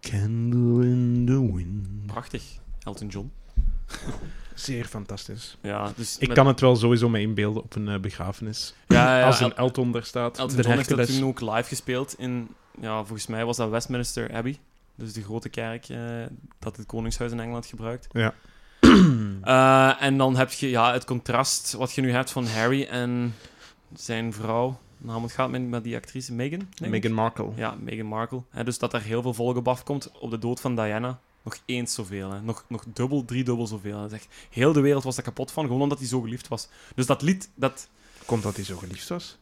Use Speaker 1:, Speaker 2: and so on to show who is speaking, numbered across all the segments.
Speaker 1: Candle in the Wind.
Speaker 2: Prachtig. Elton John.
Speaker 1: Zeer fantastisch.
Speaker 2: Ja, dus
Speaker 1: Ik
Speaker 2: met-
Speaker 1: kan het wel sowieso mee inbeelden op een eh, begrafenis.
Speaker 2: Ja, ja,
Speaker 1: Als een
Speaker 2: El-
Speaker 1: Elton daar staat.
Speaker 2: Elton
Speaker 1: de
Speaker 2: John heeft dat
Speaker 1: hechteles.
Speaker 2: toen ook live gespeeld in, ja, volgens mij was dat Westminster Abbey. Dus de grote kerk eh, dat het Koningshuis in Engeland gebruikt.
Speaker 1: Ja.
Speaker 2: Eh, en dan heb je ja, het contrast wat je nu hebt van Harry en zijn vrouw. Nou, het gaat met, met die actrice Meghan. denk ik?
Speaker 1: Meghan Markle.
Speaker 2: Ja, Meghan Markle. Hè, dus dat er heel veel volk op afkomt op de dood van Diana. Nog eens zoveel. Hè. Nog, nog dubbel, driedubbel zoveel. Hè. Zeg, heel de wereld was daar kapot van, gewoon omdat hij zo geliefd was. Dus dat lied, dat...
Speaker 1: Komt dat hij zo geliefd was?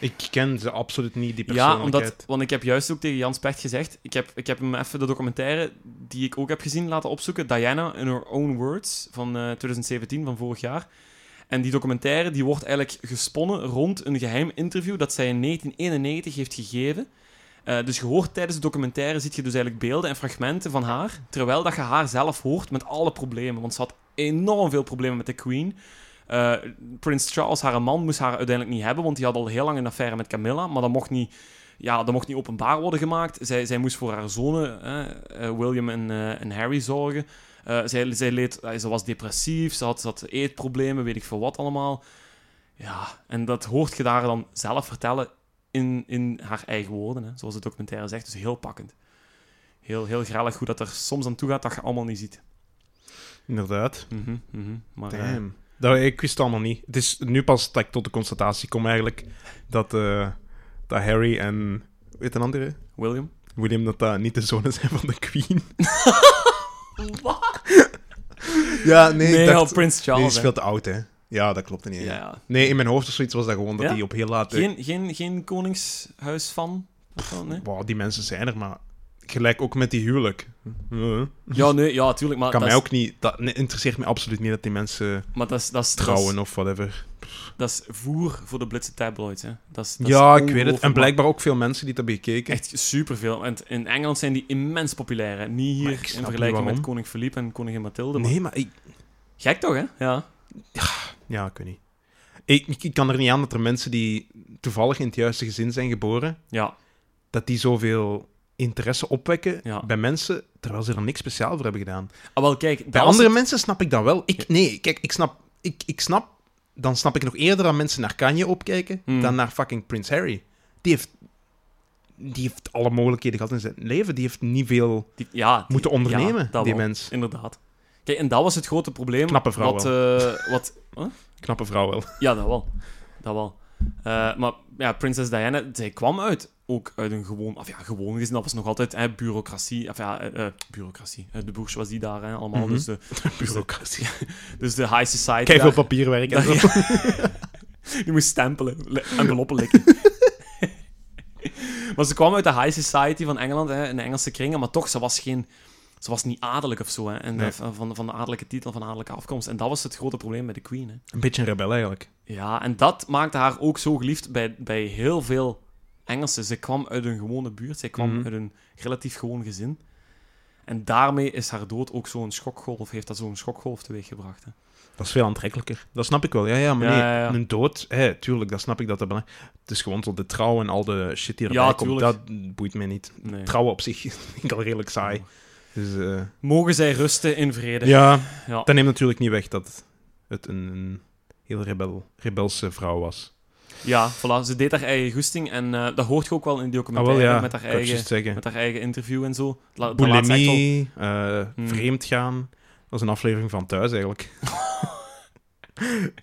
Speaker 1: Ik ken ze absoluut niet, die
Speaker 2: Ja,
Speaker 1: persoonlijkheid.
Speaker 2: omdat, want ik heb juist ook tegen Jan Specht gezegd, ik heb, ik heb hem even de documentaire die ik ook heb gezien laten opzoeken, Diana in Her Own Words, van eh, 2017, van vorig jaar. En die documentaire die wordt eigenlijk gesponnen rond een geheim interview dat zij in 1991 heeft gegeven. Eh, dus je hoort tijdens de documentaire, ziet je dus eigenlijk beelden en fragmenten van haar, terwijl dat je haar zelf hoort met alle problemen. Want ze had enorm veel problemen met de Queen. Eh Prins Charles, haar man, moest haar uiteindelijk niet hebben, want die had al heel lang een affaire met Camilla, maar dat mocht niet, ja, dat mocht niet openbaar worden gemaakt. Zij, zij moest voor haar zonen, eh, eh, William en, eh, en Harry, zorgen. Eh, zij, zij leed, eh, ze was depressief, ze had, ze had eetproblemen, weet ik veel wat allemaal. Ja, en dat hoort je daar dan zelf vertellen in, in haar eigen woorden, hè, zoals de documentaire zegt. Dus heel pakkend. Heel, heel grellig hoe dat er soms aan toe gaat dat je allemaal niet ziet.
Speaker 1: Inderdaad.
Speaker 2: Mhm, mhm. Maar, eh,
Speaker 1: Damn. Dat, ik wist het allemaal niet. Het is nu pas dat ik tot de constatatie kom eigenlijk dat, eh, dat Harry en... Weet een andere?
Speaker 2: William?
Speaker 1: William, dat dat niet de zonen zijn van de Queen.
Speaker 2: Wat?
Speaker 1: Ja, nee,
Speaker 2: Nee,
Speaker 1: ik
Speaker 2: al
Speaker 1: dacht...
Speaker 2: Prins
Speaker 1: nee, die
Speaker 2: Charles.
Speaker 1: is
Speaker 2: hè.
Speaker 1: veel te oud, hè. Ja, dat klopt niet.
Speaker 2: ja, ja.
Speaker 1: Nee, in mijn hoofd of zoiets was dat gewoon dat
Speaker 2: Ja?
Speaker 1: hij op heel laat... eh,
Speaker 2: Geen, geen, geen koningshuis van? Of zo, nee?
Speaker 1: Wow, die mensen zijn er, maar gelijk ook met die huwelijk. Hm.
Speaker 2: Ja, nee, ja, tuurlijk. Maar
Speaker 1: kan
Speaker 2: dat
Speaker 1: mij
Speaker 2: is-
Speaker 1: ook niet... Dat nee, interesseert me absoluut niet dat die mensen
Speaker 2: Maar dat is, dat is,
Speaker 1: trouwen of whatever.
Speaker 2: Dat is, dat is voer voor de blitse tabloids. Hè. Dat is, dat is
Speaker 1: Ja, ik weet het.
Speaker 2: ongelooflijk,
Speaker 1: En
Speaker 2: maar
Speaker 1: blijkbaar ook veel mensen die dat hebben gekeken.
Speaker 2: Echt superveel. En t- in Engeland zijn die immens populair. Hè. Niet hier
Speaker 1: Maar ik
Speaker 2: in
Speaker 1: snap niet
Speaker 2: vergelijking met
Speaker 1: waarom.
Speaker 2: koning Philippe en koningin Mathilde. maar-
Speaker 1: Nee, maar ik...
Speaker 2: Gek toch, hè? Ja.
Speaker 1: Ja, ik weet niet. Ik, ik, ik kan er niet aan dat er mensen die toevallig in het juiste gezin zijn geboren,
Speaker 2: Ja,
Speaker 1: dat die zoveel interesse opwekken
Speaker 2: Ja.
Speaker 1: bij mensen, terwijl ze er niks speciaal voor hebben gedaan.
Speaker 2: Ah, wel, kijk, dat
Speaker 1: Bij
Speaker 2: is
Speaker 1: andere
Speaker 2: het-
Speaker 1: mensen snap ik dat wel. Ik, nee, kijk, ik snap, ik, ik snap... Dan snap ik nog eerder dat mensen naar Kanye opkijken
Speaker 2: Hmm.
Speaker 1: dan naar fucking Prince Harry. Die heeft, die heeft alle mogelijkheden gehad in zijn leven. Die heeft niet veel
Speaker 2: die- ja, die-
Speaker 1: moeten ondernemen,
Speaker 2: ja, dat
Speaker 1: die
Speaker 2: wel.
Speaker 1: mens.
Speaker 2: Inderdaad. Kijk, en dat was het grote probleem.
Speaker 1: Knappe vrouw
Speaker 2: Wat, eh, wat,
Speaker 1: Knappe vrouw wel.
Speaker 2: ja, dat wel. Dat wel. Eh, maar ja, prinses Diana, zij kwam uit, ook uit een gewoon... Of ja, gewoon gezien, dat was nog altijd hè, bureaucratie. Of ja, eh, eh, bureaucratie. Eh, de bourgeoisie was die daar, hè, allemaal.
Speaker 1: Mhm.
Speaker 2: dus, de,
Speaker 1: Bureaucratie.
Speaker 2: dus de high society
Speaker 1: Kijk, veel
Speaker 2: daar.
Speaker 1: papierwerk en zo.
Speaker 2: Die moest stempelen, li- enveloppen likken. maar ze kwam uit de high society van Engeland, hè, in de Engelse kringen, maar toch, ze was geen... Ze was niet adellijk of zo, hè, en,
Speaker 1: Nee.
Speaker 2: eh, van, van de adellijke titel, van de adellijke afkomst. En dat was het grote probleem bij de Queen. Hè.
Speaker 1: Een beetje een rebel eigenlijk.
Speaker 2: Ja, en dat maakte haar ook zo geliefd bij, bij heel veel Engelsen. Ze kwam uit een gewone buurt, zij kwam
Speaker 1: Mhm.
Speaker 2: uit een relatief gewoon gezin. En daarmee is haar dood ook zo'n schokgolf, heeft dat zo'n schokgolf teweeggebracht. Hè.
Speaker 1: Dat is veel aantrekkelijker. Dat snap ik wel. Ja, ja maar
Speaker 2: Ja,
Speaker 1: nee,
Speaker 2: ja, ja.
Speaker 1: een dood, hè, tuurlijk, dat snap ik dat dat belangrijk Het is gewoon zo de trouw en al de shit die erbij
Speaker 2: Ja,
Speaker 1: komt,
Speaker 2: tuurlijk.
Speaker 1: dat boeit mij niet.
Speaker 2: Nee.
Speaker 1: Trouwen op zich vind ik al redelijk saai. Dus eh,
Speaker 2: Mogen zij rusten in vrede.
Speaker 1: ja,
Speaker 2: Ja.
Speaker 1: dat neemt natuurlijk niet weg dat het een, een heel rebel, rebelse vrouw was.
Speaker 2: Ja, voilà. Ze deed haar eigen goesting. En eh, dat hoort je ook wel in die
Speaker 1: Ah, wel
Speaker 2: documentaire.
Speaker 1: ja,
Speaker 2: met, haar
Speaker 1: ik wou het
Speaker 2: eigen,
Speaker 1: juist zeggen.
Speaker 2: met haar eigen interview en zo. La- dat laat ze echt wel-
Speaker 1: Bulimie, eh,
Speaker 2: Hmm.
Speaker 1: vreemd gaan. Dat is een aflevering van thuis eigenlijk.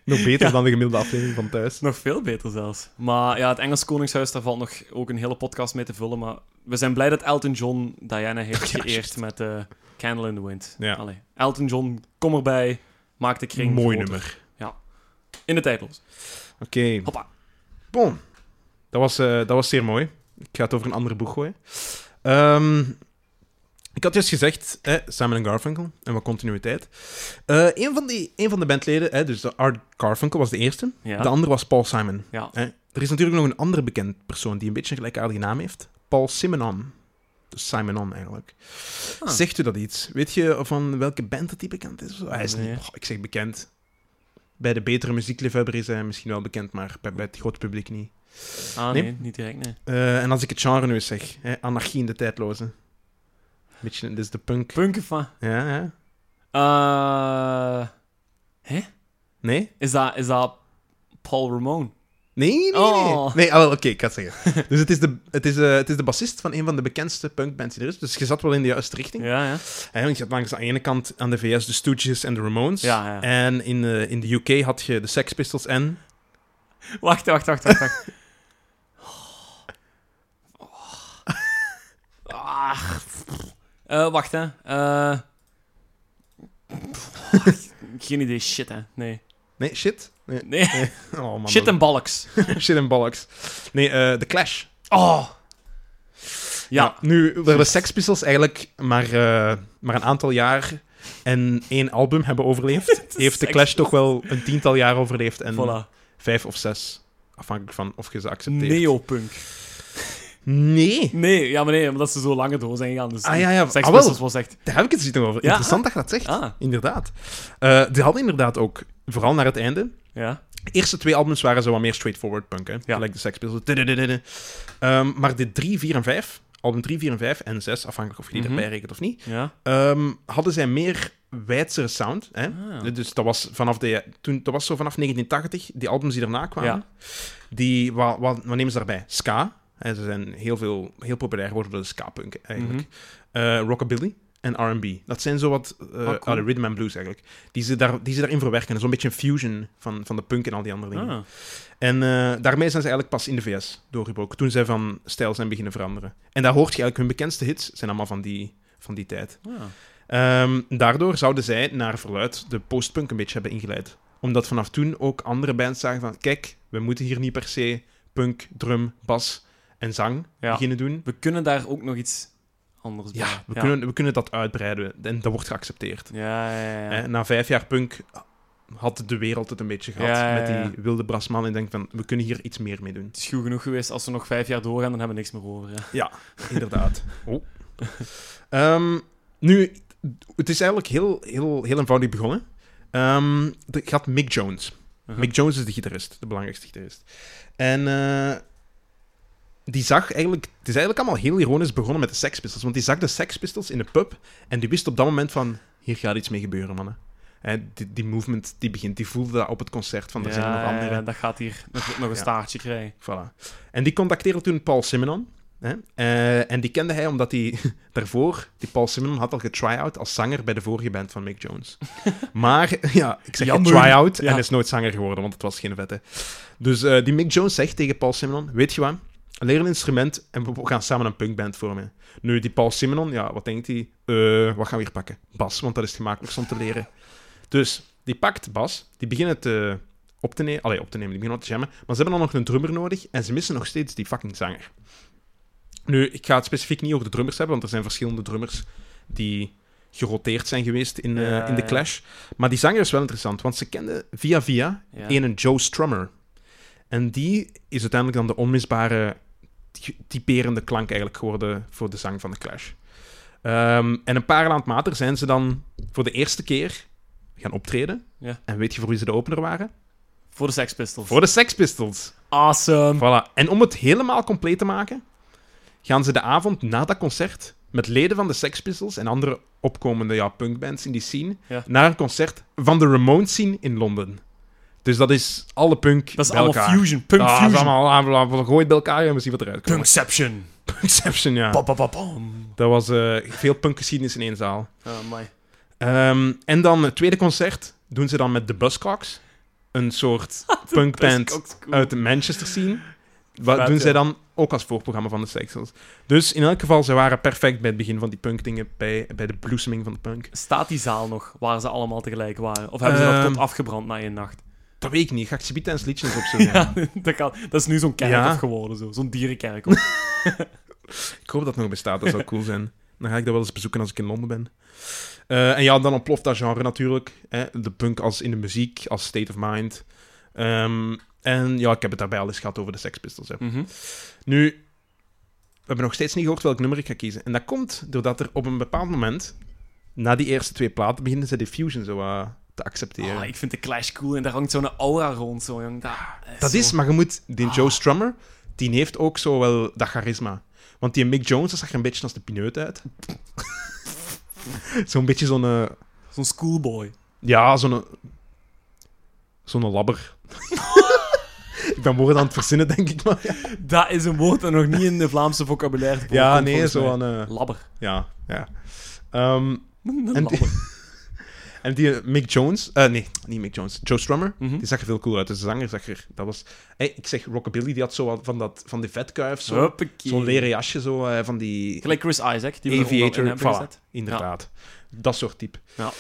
Speaker 1: Nog beter dan de gemiddelde aflevering van thuis.
Speaker 2: Nog veel beter zelfs. Maar ja, het Engels Koningshuis, daar valt nog ook een hele podcast mee te vullen. Maar we zijn blij dat Elton John Diana heeft
Speaker 1: Ja,
Speaker 2: geëerd
Speaker 1: juist.
Speaker 2: met eh, Candle in the Wind.
Speaker 1: Ja.
Speaker 2: Allee, Elton John, kom erbij. Maak de kring
Speaker 1: Mooi
Speaker 2: groter.
Speaker 1: nummer.
Speaker 2: In de tijdloos.
Speaker 1: Oké.
Speaker 2: Hoppa.
Speaker 1: Bon. Dat was, eh, dat was zeer mooi. Ik ga het over een andere boeg gooien. Ehm, ik had juist gezegd, hè, Simon en Garfunkel, en wat continuïteit. Eh een, van die, een van de bandleden, hè, dus de Art Garfunkel was de eerste.
Speaker 2: Ja.
Speaker 1: De andere was Paul Simon.
Speaker 2: Ja.
Speaker 1: Hè. Er is natuurlijk nog een andere bekend persoon die een beetje een gelijkaardige naam heeft. Paul Simonon. Dus Simonon eigenlijk.
Speaker 2: Ah.
Speaker 1: Zegt u dat iets? Weet je van welke band dat die bekend is? of zo? Hij is
Speaker 2: Nee.
Speaker 1: niet, oh, ik zeg bekend. Bij de betere muziekliefhebber is hij misschien wel bekend, maar bij, bij het grote publiek niet.
Speaker 2: Ah, nee,
Speaker 1: Nee.
Speaker 2: niet direct, nee.
Speaker 1: Eh, en als ik het genre nu eens zeg, hè, anarchie in de tijdloze. Beetje, dit is de punk.
Speaker 2: Punken van...
Speaker 1: Ja, ja.
Speaker 2: Eh,
Speaker 1: Nee?
Speaker 2: is, dat, is dat Paul Ramon?
Speaker 1: Nee, nee, nee.
Speaker 2: Oh.
Speaker 1: Nee, ah, wel, oké, ik ga het zeggen. dus het is, de, het, is, eh, het is de bassist van een van de bekendste punkbands die er is. Dus je zat wel in de juiste richting.
Speaker 2: Ja, ja.
Speaker 1: Hè, want je had langs aan de ene kant aan de VS de Stooges en de Ramones.
Speaker 2: Ja, ja.
Speaker 1: En in, eh, in de UK had je de Sex Pistols en...
Speaker 2: Wacht, wacht, wacht, wacht. wacht. Ah, Eh, wacht, hè. Eh, wacht. Geen idee, shit, hè. Nee.
Speaker 1: Nee, shit. Nee.
Speaker 2: nee.
Speaker 1: Oh, man,
Speaker 2: Shit en balks.
Speaker 1: en... shit en bollocks. Nee, eh, de Clash.
Speaker 2: Oh. Ja.
Speaker 1: Ja, nu werden de Sex Pistols eigenlijk maar, eh, maar een aantal jaar en één album hebben overleefd. Heeft de
Speaker 2: Sex
Speaker 1: Clash toch wel een tiental jaar overleefd en
Speaker 2: Voilà.
Speaker 1: vijf of zes, afhankelijk van of je ze accepteert.
Speaker 2: Neopunk.
Speaker 1: Nee.
Speaker 2: Nee, ja, maar nee, omdat ze zo langer door zijn gegaan. Dus
Speaker 1: Ah, ja, ja.
Speaker 2: Sex
Speaker 1: Ah, wel.
Speaker 2: Pistols was echt...
Speaker 1: Daar heb ik het dus niet over.
Speaker 2: Ja,
Speaker 1: Interessant dat je dat zegt.
Speaker 2: Ah,
Speaker 1: Inderdaad. Eh die hadden inderdaad ook, vooral naar het einde,
Speaker 2: ja.
Speaker 1: de eerste twee albums waren zo wat meer straightforward punk, hè.
Speaker 2: Ja.
Speaker 1: Gelijk de Sex Pistols. Dududududud. Ehm, maar de drie, vier en vijf, album drie, vier en vijf en zes, afhankelijk of je die
Speaker 2: Mhm.
Speaker 1: erbij rekent of niet,
Speaker 2: Ja.
Speaker 1: Ehm, hadden zij meer wijdsere sound. Hè?
Speaker 2: Ah.
Speaker 1: Dus dat was, vanaf de, toen, dat was zo vanaf 1980, die albums die daarna kwamen. Die, wat, wat, wat nemen ze daarbij? Ska. Hè, ze zijn heel, veel, heel populair geworden door de ska-punk eigenlijk. Eh, rockabilly en R&B. Dat zijn zo wat... eh,
Speaker 2: Mhm. cool.
Speaker 1: ah, de rhythm and blues eigenlijk. Die ze, daar, die ze daarin verwerken. Zo'n beetje een fusion van, van de punk en al die andere dingen.
Speaker 2: Ah.
Speaker 1: En eh, daarmee zijn ze eigenlijk pas in de VS doorgebroken. Toen zij van stijl zijn beginnen veranderen. En daar hoort je eigenlijk... Hun bekendste hits zijn allemaal van die, van die tijd.
Speaker 2: Ah.
Speaker 1: Ehm, daardoor zouden zij naar verluid de postpunk een beetje hebben ingeleid. Omdat vanaf toen ook andere bands zagen van... Kijk, we moeten hier niet per se punk, drum, bas en zang
Speaker 2: Ja.
Speaker 1: beginnen doen.
Speaker 2: We kunnen daar ook nog iets anders bij.
Speaker 1: Ja, we, Kunnen, we kunnen dat uitbreiden. En dat wordt geaccepteerd.
Speaker 2: Ja, ja, ja. ja.
Speaker 1: Eh, Na vijf jaar punk had de wereld het een beetje gehad.
Speaker 2: Ja, ja,
Speaker 1: met
Speaker 2: ja.
Speaker 1: die wilde brasman. En denk van, we kunnen hier iets meer mee doen.
Speaker 2: Het is goed genoeg geweest. Als we nog vijf jaar doorgaan, dan hebben we niks meer over. Ja.
Speaker 1: Inderdaad. Oh. Ehm, nu, het is eigenlijk heel, heel, heel eenvoudig begonnen. Ehm er gaat Mick Jones...
Speaker 2: Uh-huh.
Speaker 1: Mick Jones is de gitarist, de belangrijkste gitarist. En eh, die zag eigenlijk... Het is eigenlijk allemaal heel ironisch begonnen met de Sex Pistols. Want die zag de Sex Pistols in de pub en die wist op dat moment van... Hier gaat iets mee gebeuren, mannen. Hè, die, die movement die begint, die voelde dat op het concert van er zijn er nog
Speaker 2: Ja, ja,
Speaker 1: anderen.
Speaker 2: ja, dat gaat hier nog, nog een
Speaker 1: Ja.
Speaker 2: staartje krijgen.
Speaker 1: Voilà. En die contacteerde toen Paul Simonon. Hè? Eh, en die kende hij omdat hij daarvoor, die Paul Simonon had al getry-out als zanger bij de vorige band van Mick Jones. Maar ja, ik zeg
Speaker 2: Jammer.
Speaker 1: try-out
Speaker 2: Ja.
Speaker 1: en is nooit zanger geworden, want het was geen vette. Dus eh, die Mick Jones zegt tegen Paul Simonon: Weet je wat? Leer een instrument en we gaan samen een punkband vormen. Nu, die Paul Simonon, ja, wat denkt hij? Eh, wat gaan we hier pakken? Bas, want dat is het gemakkelijkst om te leren. Dus die pakt Bas, die beginnen te, op, te nemen, allee, op te nemen, die beginnen te jammen, maar ze hebben dan nog een drummer nodig en ze missen nog steeds die fucking zanger. Nu, ik ga het specifiek niet over de drummers hebben, want er zijn verschillende drummers die geroteerd zijn geweest in, eh,
Speaker 2: Ja,
Speaker 1: in de
Speaker 2: ja.
Speaker 1: Clash. Maar die zanger is wel interessant, want ze kenden via via
Speaker 2: Ja.
Speaker 1: een Joe Strummer. En die is uiteindelijk dan de onmisbare ty- typerende klank eigenlijk geworden voor de zang van de Clash. Ehm, en een paar maand later zijn ze dan voor de eerste keer gaan optreden.
Speaker 2: Ja.
Speaker 1: En weet je voor wie ze de opener waren?
Speaker 2: Voor de Sex Pistols.
Speaker 1: Voor de Sex Pistols.
Speaker 2: Awesome.
Speaker 1: Voilà. En om het helemaal compleet te maken, gaan ze de avond na dat concert met leden van de Sex Pistols en andere opkomende ja, punkbands in die scene
Speaker 2: Ja.
Speaker 1: naar een concert van de Ramones scene in Londen. Dus dat is alle punk
Speaker 2: Dat is
Speaker 1: bij
Speaker 2: allemaal
Speaker 1: elkaar.
Speaker 2: fusion. Punk
Speaker 1: Ah, dat is
Speaker 2: fusion.
Speaker 1: allemaal ah, bla, bla, gooit bij elkaar en we zien wat eruit komt.
Speaker 2: Punkception.
Speaker 1: Punkception, ja.
Speaker 2: Ba, ba, ba, bam.
Speaker 1: Dat was eh, veel punkgeschiedenis in één zaal.
Speaker 2: Ah, my.
Speaker 1: Ehm, en dan het tweede concert doen ze dan met de Buzzcocks. Een soort punkband uit de Manchester scene. Wat
Speaker 2: Vet,
Speaker 1: doen
Speaker 2: ja.
Speaker 1: zij dan ook als voorprogramma van de Sexels. Dus in elk geval, zij waren perfect bij het begin van die punkdingen, bij, bij de bloeseming van de punk.
Speaker 2: Staat die zaal nog waar ze allemaal tegelijk waren? Of hebben ze dat
Speaker 1: Ehm.
Speaker 2: tot afgebrand na één nacht?
Speaker 1: Dat weet ik niet, ga ik ze bieden eens liedjes opzoeken.
Speaker 2: Ja, dat, gaat, dat is nu zo'n kerkhof
Speaker 1: Ja.
Speaker 2: geworden, zo. zo'n dierenkerkhof.
Speaker 1: Ik hoop dat het nog bestaat, dat zou cool zijn. Dan ga ik dat wel eens bezoeken als ik in Londen ben. Eh, en ja, dan ontploft dat genre natuurlijk. Hè? De punk als in de muziek, als state of mind. Ehm, en ja, ik heb het daarbij al eens gehad over de Sex Pistols. Hè.
Speaker 2: Mhm.
Speaker 1: Nu, we hebben nog steeds niet gehoord welk nummer ik ga kiezen. En dat komt doordat er op een bepaald moment, na die eerste twee platen, beginnen ze de fusion zo eh, te accepteren.
Speaker 2: Ah, ik vind de Clash cool en daar hangt zo'n aura rond, zo, jong. Dat is,
Speaker 1: dat
Speaker 2: zo- Ah.
Speaker 1: is, maar je moet, die Joe Strummer, die heeft ook zo wel dat charisma. Want die Mick Jones, dat zag er een beetje als de pineut uit. Zo'n beetje zo'n... eh,
Speaker 2: Zo'n schoolboy.
Speaker 1: ja, zo'n... Zo'n labber. ik ben woorden aan het verzinnen, denk ik. Maar,
Speaker 2: Dat is een woord dat nog niet in de Vlaamse vocabulaire voorkomt,
Speaker 1: ja, nee,
Speaker 2: volgens
Speaker 1: zo
Speaker 2: mij.
Speaker 1: aan... eh,
Speaker 2: Labber.
Speaker 1: ja, ja. Ehm,
Speaker 2: Een
Speaker 1: En die-
Speaker 2: labber.
Speaker 1: en die eh, Mick Jones... eh, nee, niet Mick Jones. Joe Strummer.
Speaker 2: Mhm.
Speaker 1: Die zag er veel cooler uit. De zanger zag er... Dat was... Hey, ik zeg Rockabilly, die had zo wat van, dat, van die vetkuif. Zo,
Speaker 2: Huppakee.
Speaker 1: Zo'n leren jasje, zo, eh, van die...
Speaker 2: Gelijk Chris Isaac, die we er ook wel in
Speaker 1: Aviator,
Speaker 2: hebben
Speaker 1: voilà,
Speaker 2: gezet.
Speaker 1: inderdaad. Dat soort type.
Speaker 2: Ja.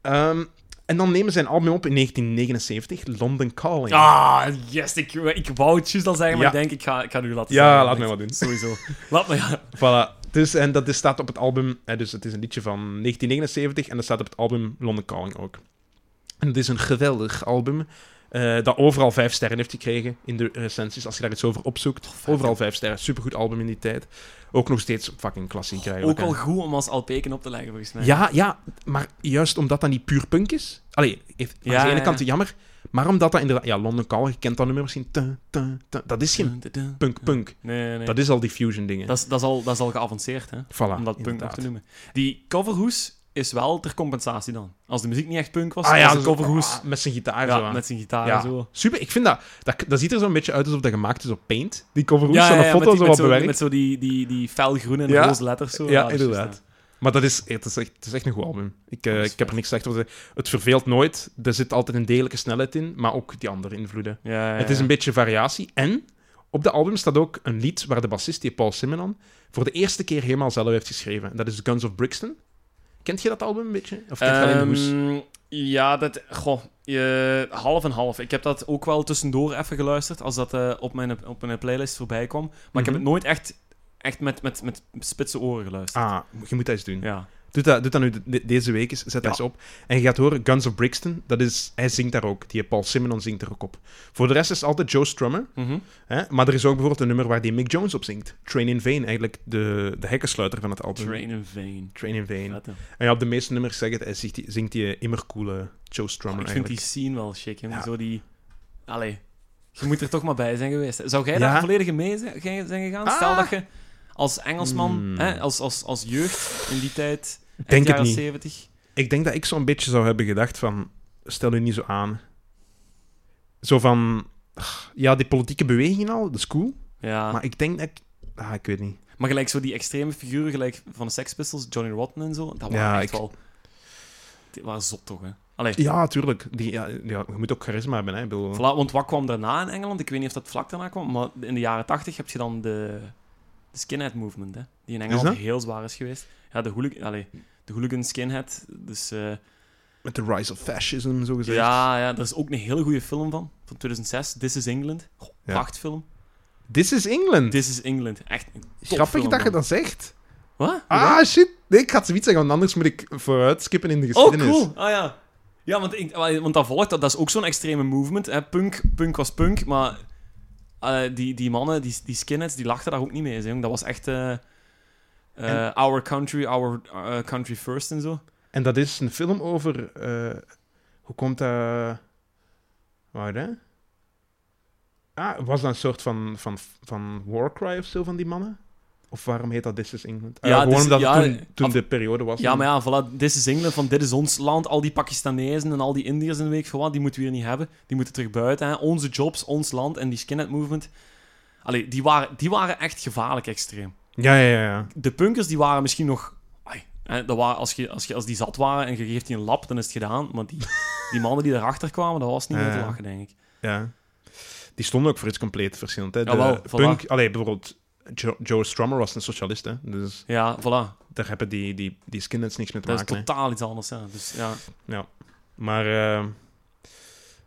Speaker 1: Ehm, en dan nemen ze een album op in 1979, London Calling.
Speaker 2: Ah, yes, ik, ik wou het juist al zeggen, maar
Speaker 1: Ja.
Speaker 2: ik denk, ik ga, ik ga het u laten
Speaker 1: Ja,
Speaker 2: zeggen.
Speaker 1: laat
Speaker 2: want
Speaker 1: mij wat
Speaker 2: ik-
Speaker 1: doen.
Speaker 2: Sowieso. laat me, ja.
Speaker 1: Voilà. Dus, en dat is, staat op het album, hè, dus het is een liedje van 1979 en dat staat op het album London Calling ook. En het is een geweldig album, eh, dat overal vijf sterren heeft gekregen in de recensies. Als je daar iets over opzoekt, overal vijf sterren. Supergoed album in die tijd. Ook nog steeds fucking klassiek eigenlijk,
Speaker 2: Ook
Speaker 1: hè.
Speaker 2: al goed om als LP-ken op te leggen, volgens mij.
Speaker 1: Ja, ja, maar juist omdat dat niet puur punk is. Allee, heeft,
Speaker 2: Ja,
Speaker 1: aan de ene
Speaker 2: ja,
Speaker 1: kant
Speaker 2: ja.
Speaker 1: jammer, maar omdat dat inderdaad... Ja, London Calling, je kent dat nummer misschien. Tun, tun, tun. Dat is geen
Speaker 2: Dun, dun, dun.
Speaker 1: punk-punk.
Speaker 2: Nee, nee, nee.
Speaker 1: Dat is al die fusion dingen.
Speaker 2: Hm. Dat is, dat, is al, dat is al geavanceerd, hè?
Speaker 1: voilà,
Speaker 2: om dat punk
Speaker 1: Ah,
Speaker 2: nog
Speaker 1: inderdaad.
Speaker 2: te noemen. Die coverhoes is wel ter compensatie dan. Als de muziek niet echt punk was,
Speaker 1: Ah ja,
Speaker 2: was de
Speaker 1: dat is-
Speaker 2: coverhoes
Speaker 1: ah, met zijn gitaar
Speaker 2: ja,
Speaker 1: zo aan.
Speaker 2: met zijn gitaar
Speaker 1: Ja.
Speaker 2: en zo.
Speaker 1: Super, ik vind dat, dat... dat ziet er zo'n beetje uit alsof dat gemaakt is op Paint. Die coverhoes
Speaker 2: Ja,
Speaker 1: van de
Speaker 2: ja, ja,
Speaker 1: foto
Speaker 2: met, die-
Speaker 1: zo
Speaker 2: met
Speaker 1: wat
Speaker 2: zo,
Speaker 1: bewerkt.
Speaker 2: Met zo die, die, die felgroene en
Speaker 1: Ja.
Speaker 2: roze letters. Zo.
Speaker 1: Ja,
Speaker 2: dat is
Speaker 1: inderdaad.
Speaker 2: juist,
Speaker 1: Maar dat is, het, is echt, het is echt een goed album. Ik, eh,
Speaker 2: Dat is
Speaker 1: ik heb er niks slecht over te zeggen. Het verveelt nooit. Er zit altijd een degelijke snelheid in, maar ook die andere invloeden.
Speaker 2: ja. Ja, ja,
Speaker 1: Het is een
Speaker 2: ja.
Speaker 1: beetje variatie. En op de album staat ook een lied waar de bassist, die Paul Simonon, voor de eerste keer helemaal zelf heeft geschreven. En Dat is Guns of Brixton. Kent je dat album een beetje? Of kent je alleen de hoes?
Speaker 2: Ehm, Ja, dat... Goh, je- half en half. Ik heb dat ook wel tussendoor even geluisterd, als dat eh, op, mijn, op mijn playlist voorbij kwam. Maar ik
Speaker 1: Mhm.
Speaker 2: heb het nooit echt, echt met, met, met spitse oren geluisterd.
Speaker 1: Ah, je moet dat eens doen.
Speaker 2: Ja.
Speaker 1: Doe, dat, doe dat nu de- deze week eens. Zet dat
Speaker 2: Ja.
Speaker 1: eens op. En je gaat horen, Guns of Brixton, dat is, hij zingt daar ook. Die Paul Simonon zingt er ook op. Voor de rest is altijd Joe Strummer.
Speaker 2: Mhm.
Speaker 1: Hè? Maar er is ook bijvoorbeeld een nummer waar die Mick Jones op zingt. Train in Vain, eigenlijk de, de hekkensluiter van het album.
Speaker 2: Train in Vain.
Speaker 1: Train in Vain.
Speaker 2: Vette.
Speaker 1: En ja, op de meeste nummers zeg het, hij zingt die, zingt die immer coole Joe Strummer
Speaker 2: Ah, ik
Speaker 1: eigenlijk.
Speaker 2: vind die scene wel chic. hè.
Speaker 1: Ja.
Speaker 2: Zo die... Allee, je moet er toch maar bij zijn geweest. hè. Zou jij
Speaker 1: Ja.
Speaker 2: daar volledig in mee zijn, gij- zijn gegaan? Stel
Speaker 1: Ah.
Speaker 2: dat je als Engelsman,
Speaker 1: Hmm.
Speaker 2: hè, als, als, als jeugd in die tijd, eind
Speaker 1: Denk het
Speaker 2: jaren
Speaker 1: niet.
Speaker 2: 70.
Speaker 1: Ik denk dat ik zo'n beetje zou hebben gedacht van... Stel u niet zo aan. Zo van... ach, Ja, die politieke beweging al, dat is cool.
Speaker 2: Ja. Maar,
Speaker 1: Maar ik denk dat ik... Ah, ik weet niet.
Speaker 2: gelijk zo die extreme figuren gelijk van de Sex Pistols, Johnny Rotten en zo, dat waren
Speaker 1: Ja,
Speaker 2: echt
Speaker 1: ik-
Speaker 2: wel... Die waren zot toch, hè? Allee,
Speaker 1: Ja, tuurlijk. Die, ja, ja, je moet ook charisma hebben, hè. ik bedoel.
Speaker 2: voilà, want wat kwam daarna in Engeland? Ik weet niet of dat vlak daarna kwam, maar in de jaren 80 heb je dan de, de skinhead movement, hè? Die in Engeland
Speaker 1: dat?
Speaker 2: heel zwaar is geweest. Ja, de hooligan, allee, de hooligan skinhead, dus... eh,
Speaker 1: Met de rise of fascism, zo gezegd.
Speaker 2: Ja, ja, er is ook een hele goede film van, van 2006, This is England. Goh,
Speaker 1: Ja.
Speaker 2: Prachtfilm.
Speaker 1: This is England.
Speaker 2: This is England, echt een topfilm,
Speaker 1: Grappig dat je
Speaker 2: man.
Speaker 1: dat zegt.
Speaker 2: Wat?
Speaker 1: Ah, shit. Nee, ik had zoiets zeggen, want anders moet ik vooruit skippen in de
Speaker 2: oh,
Speaker 1: geschiedenis.
Speaker 2: cool. Ah ja. Ja, want, ik, want dat volgt, dat, dat is ook zo'n extreme movement. Hè. Punk, punk was punk, maar eh, die, die mannen, die, die skinheads, die lachten daar ook niet mee. Zeg. jong. Dat was echt eh, eh,
Speaker 1: En-
Speaker 2: our country, our eh, country first en zo.
Speaker 1: En dat is een film over... eh, hoe komt dat... Waar, hè? Ah, was dat een soort van, van, van warcry of zo van die mannen? Of waarom heet dat This is England? Ah,
Speaker 2: Ja,
Speaker 1: gewoon
Speaker 2: This-
Speaker 1: omdat
Speaker 2: ja,
Speaker 1: het toen, toen
Speaker 2: af-
Speaker 1: de periode was.
Speaker 2: Ja, maar ja, voilà, This is England, van dit is ons land. Al die Pakistanezen en al die Indiërs en weet ik veel wat, die moeten we hier niet hebben. Die moeten terug buiten. Hè. Onze jobs, ons land en die skinhead movement. Allee, die waren, die waren echt gevaarlijk extreem.
Speaker 1: Ja, ja, ja. ja.
Speaker 2: De punkers, die waren misschien nog... Ai, hè, dat waren, als, je, als, je, als die zat waren en je geeft die een lap, dan is het gedaan. Maar die, die mannen die erachter kwamen, dat was niet meer te
Speaker 1: Ja.
Speaker 2: lachen, denk ik.
Speaker 1: Ja. Die stonden ook voor iets compleet verschillend. Hè. De
Speaker 2: Jawel, voilà.
Speaker 1: punk... Allee, bijvoorbeeld... Jo- Joe Strummer was een socialist, hè. Dus
Speaker 2: Ja, voilà.
Speaker 1: daar hebben die, die, die skinheads niks mee te
Speaker 2: Dat is
Speaker 1: maken. hè.
Speaker 2: totaal iets anders. Hè. Dus ja,
Speaker 1: Maar, eh,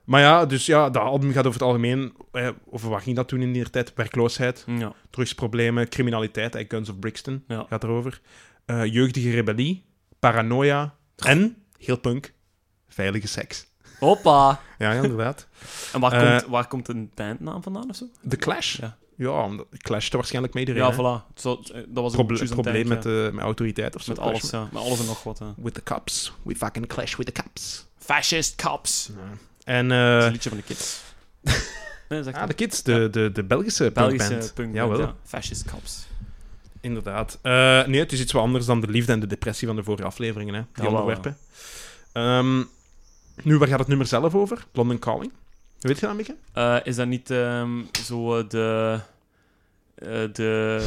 Speaker 1: maar ja, dus ja, dat album gaat over het algemeen. eh, over wat ging dat toen in die tijd? Werkloosheid,
Speaker 2: Hm, ja.
Speaker 1: drugsproblemen, criminaliteit, eh, Guns of Brixton
Speaker 2: Ja.
Speaker 1: gaat erover. Eh, jeugdige rebellie, paranoia en, heel punk, veilige seks.
Speaker 2: Hoppa!
Speaker 1: Ja, ja, inderdaad.
Speaker 2: En waar,
Speaker 1: Eh.
Speaker 2: komt, waar komt een bandnaam vandaan of zo?
Speaker 1: De Clash.
Speaker 2: Ja.
Speaker 1: Ja, omdat, clashte waarschijnlijk met iedereen. hè.
Speaker 2: Ja, voilà. Zo, eh, dat was een
Speaker 1: Proble- probleem met, eh, met autoriteit of zo.
Speaker 2: Met
Speaker 1: Clash
Speaker 2: alles, ja. Met alles en nog wat. hè.
Speaker 1: With the cops. We fucking clash with the cops.
Speaker 2: Fascist Cops.
Speaker 1: En...
Speaker 2: Dat
Speaker 1: eh,
Speaker 2: is een liedje van de kids. nee, zeg
Speaker 1: ah, de Kids, de, de, de Belgische,
Speaker 2: Belgische
Speaker 1: punkband.
Speaker 2: punk.
Speaker 1: Jawel.
Speaker 2: ja. Fascist Cops.
Speaker 1: Inderdaad. Eh, nee, het is iets wat anders dan de liefde en de depressie van de vorige afleveringen, hè, die
Speaker 2: Dat wel,
Speaker 1: onderwerpen. Ehm, nu, waar gaat het nummer zelf over? London Calling. Weet je dat, Mikke?
Speaker 2: Eh, is dat niet ehm, zo eh, de. eh, de.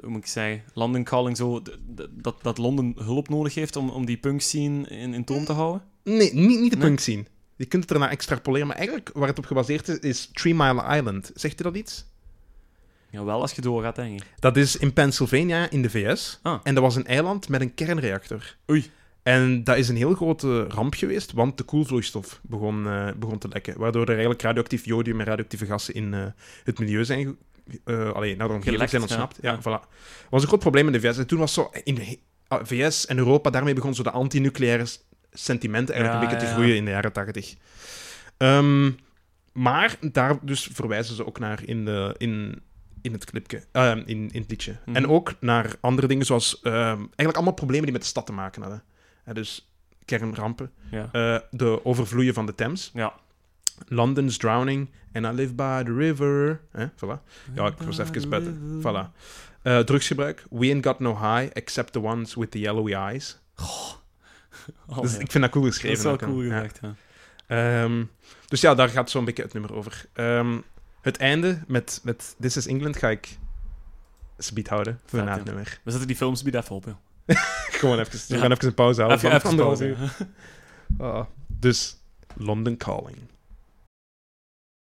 Speaker 2: hoe moet ik zeggen? London Calling, zo. de- de- dat, dat Londen hulp nodig heeft om, om die punk scene in, in toom te houden?
Speaker 1: Nee, niet, niet de
Speaker 2: Nee.
Speaker 1: punk scene. Je kunt het erna extrapoleren, maar eigenlijk waar het op gebaseerd is, is Three Mile Island. Zegt u dat iets?
Speaker 2: Jawel, als je doorgaat, denk ik.
Speaker 1: Dat is in Pennsylvania in de VS.
Speaker 2: Ah.
Speaker 1: En dat was een eiland met een kernreactor.
Speaker 2: Oei.
Speaker 1: En dat is een heel grote ramp geweest, want de koelvloeistof begon, eh, begon te lekken. Waardoor er eigenlijk radioactief jodium en radioactieve gassen in eh, het milieu zijn... ge- eh alleen naar de omgeving
Speaker 2: Gelekt,
Speaker 1: zijn
Speaker 2: ja.
Speaker 1: ontsnapt. Ja,
Speaker 2: Ja.
Speaker 1: voilà. Dat was een groot probleem in de VS. En toen was zo... In de he- ah, VS en Europa, daarmee begon zo de antinucleaire s- sentimenten eigenlijk
Speaker 2: Ja,
Speaker 1: een beetje
Speaker 2: ja,
Speaker 1: te
Speaker 2: ja.
Speaker 1: groeien in de jaren tachtig. Ehm, maar daar dus verwijzen ze ook naar in, de, in, in het clipje, eh, in, in het liedje.
Speaker 2: Mhm.
Speaker 1: En ook naar andere dingen zoals ehm, eigenlijk allemaal problemen die met de stad te maken hadden. Hè, dus kernrampen,
Speaker 2: Ja.
Speaker 1: eh, de overvloeien van de Thames,
Speaker 2: Ja.
Speaker 1: London's drowning en I live by the river. Hè, voilà. Ja, ik was even beter.
Speaker 2: Mhm.
Speaker 1: Voilà. Eh, drugsgebruik, we ain't got no high except the ones with the yellowy eyes.
Speaker 2: Oh,
Speaker 1: dus
Speaker 2: ja.
Speaker 1: ik vind dat cool
Speaker 2: dat
Speaker 1: geschreven.
Speaker 2: is wel
Speaker 1: ook, hè.
Speaker 2: cool
Speaker 1: Ja.
Speaker 2: gezegd, ja.
Speaker 1: Ehm, dus ja, daar gaat zo'n beetje het nummer over. Ehm, het einde met, met This is England ga ik speed houden voor
Speaker 2: Vet,
Speaker 1: na
Speaker 2: ja.
Speaker 1: het nummer.
Speaker 2: We zetten die films bij even op, joh.
Speaker 1: Gewoon even, we
Speaker 2: Ja.
Speaker 1: gaan even een pauze houden.
Speaker 2: Even,
Speaker 1: van
Speaker 2: even
Speaker 1: anderhalf
Speaker 2: pauze, ja.
Speaker 1: uur. Ah, dus London Calling.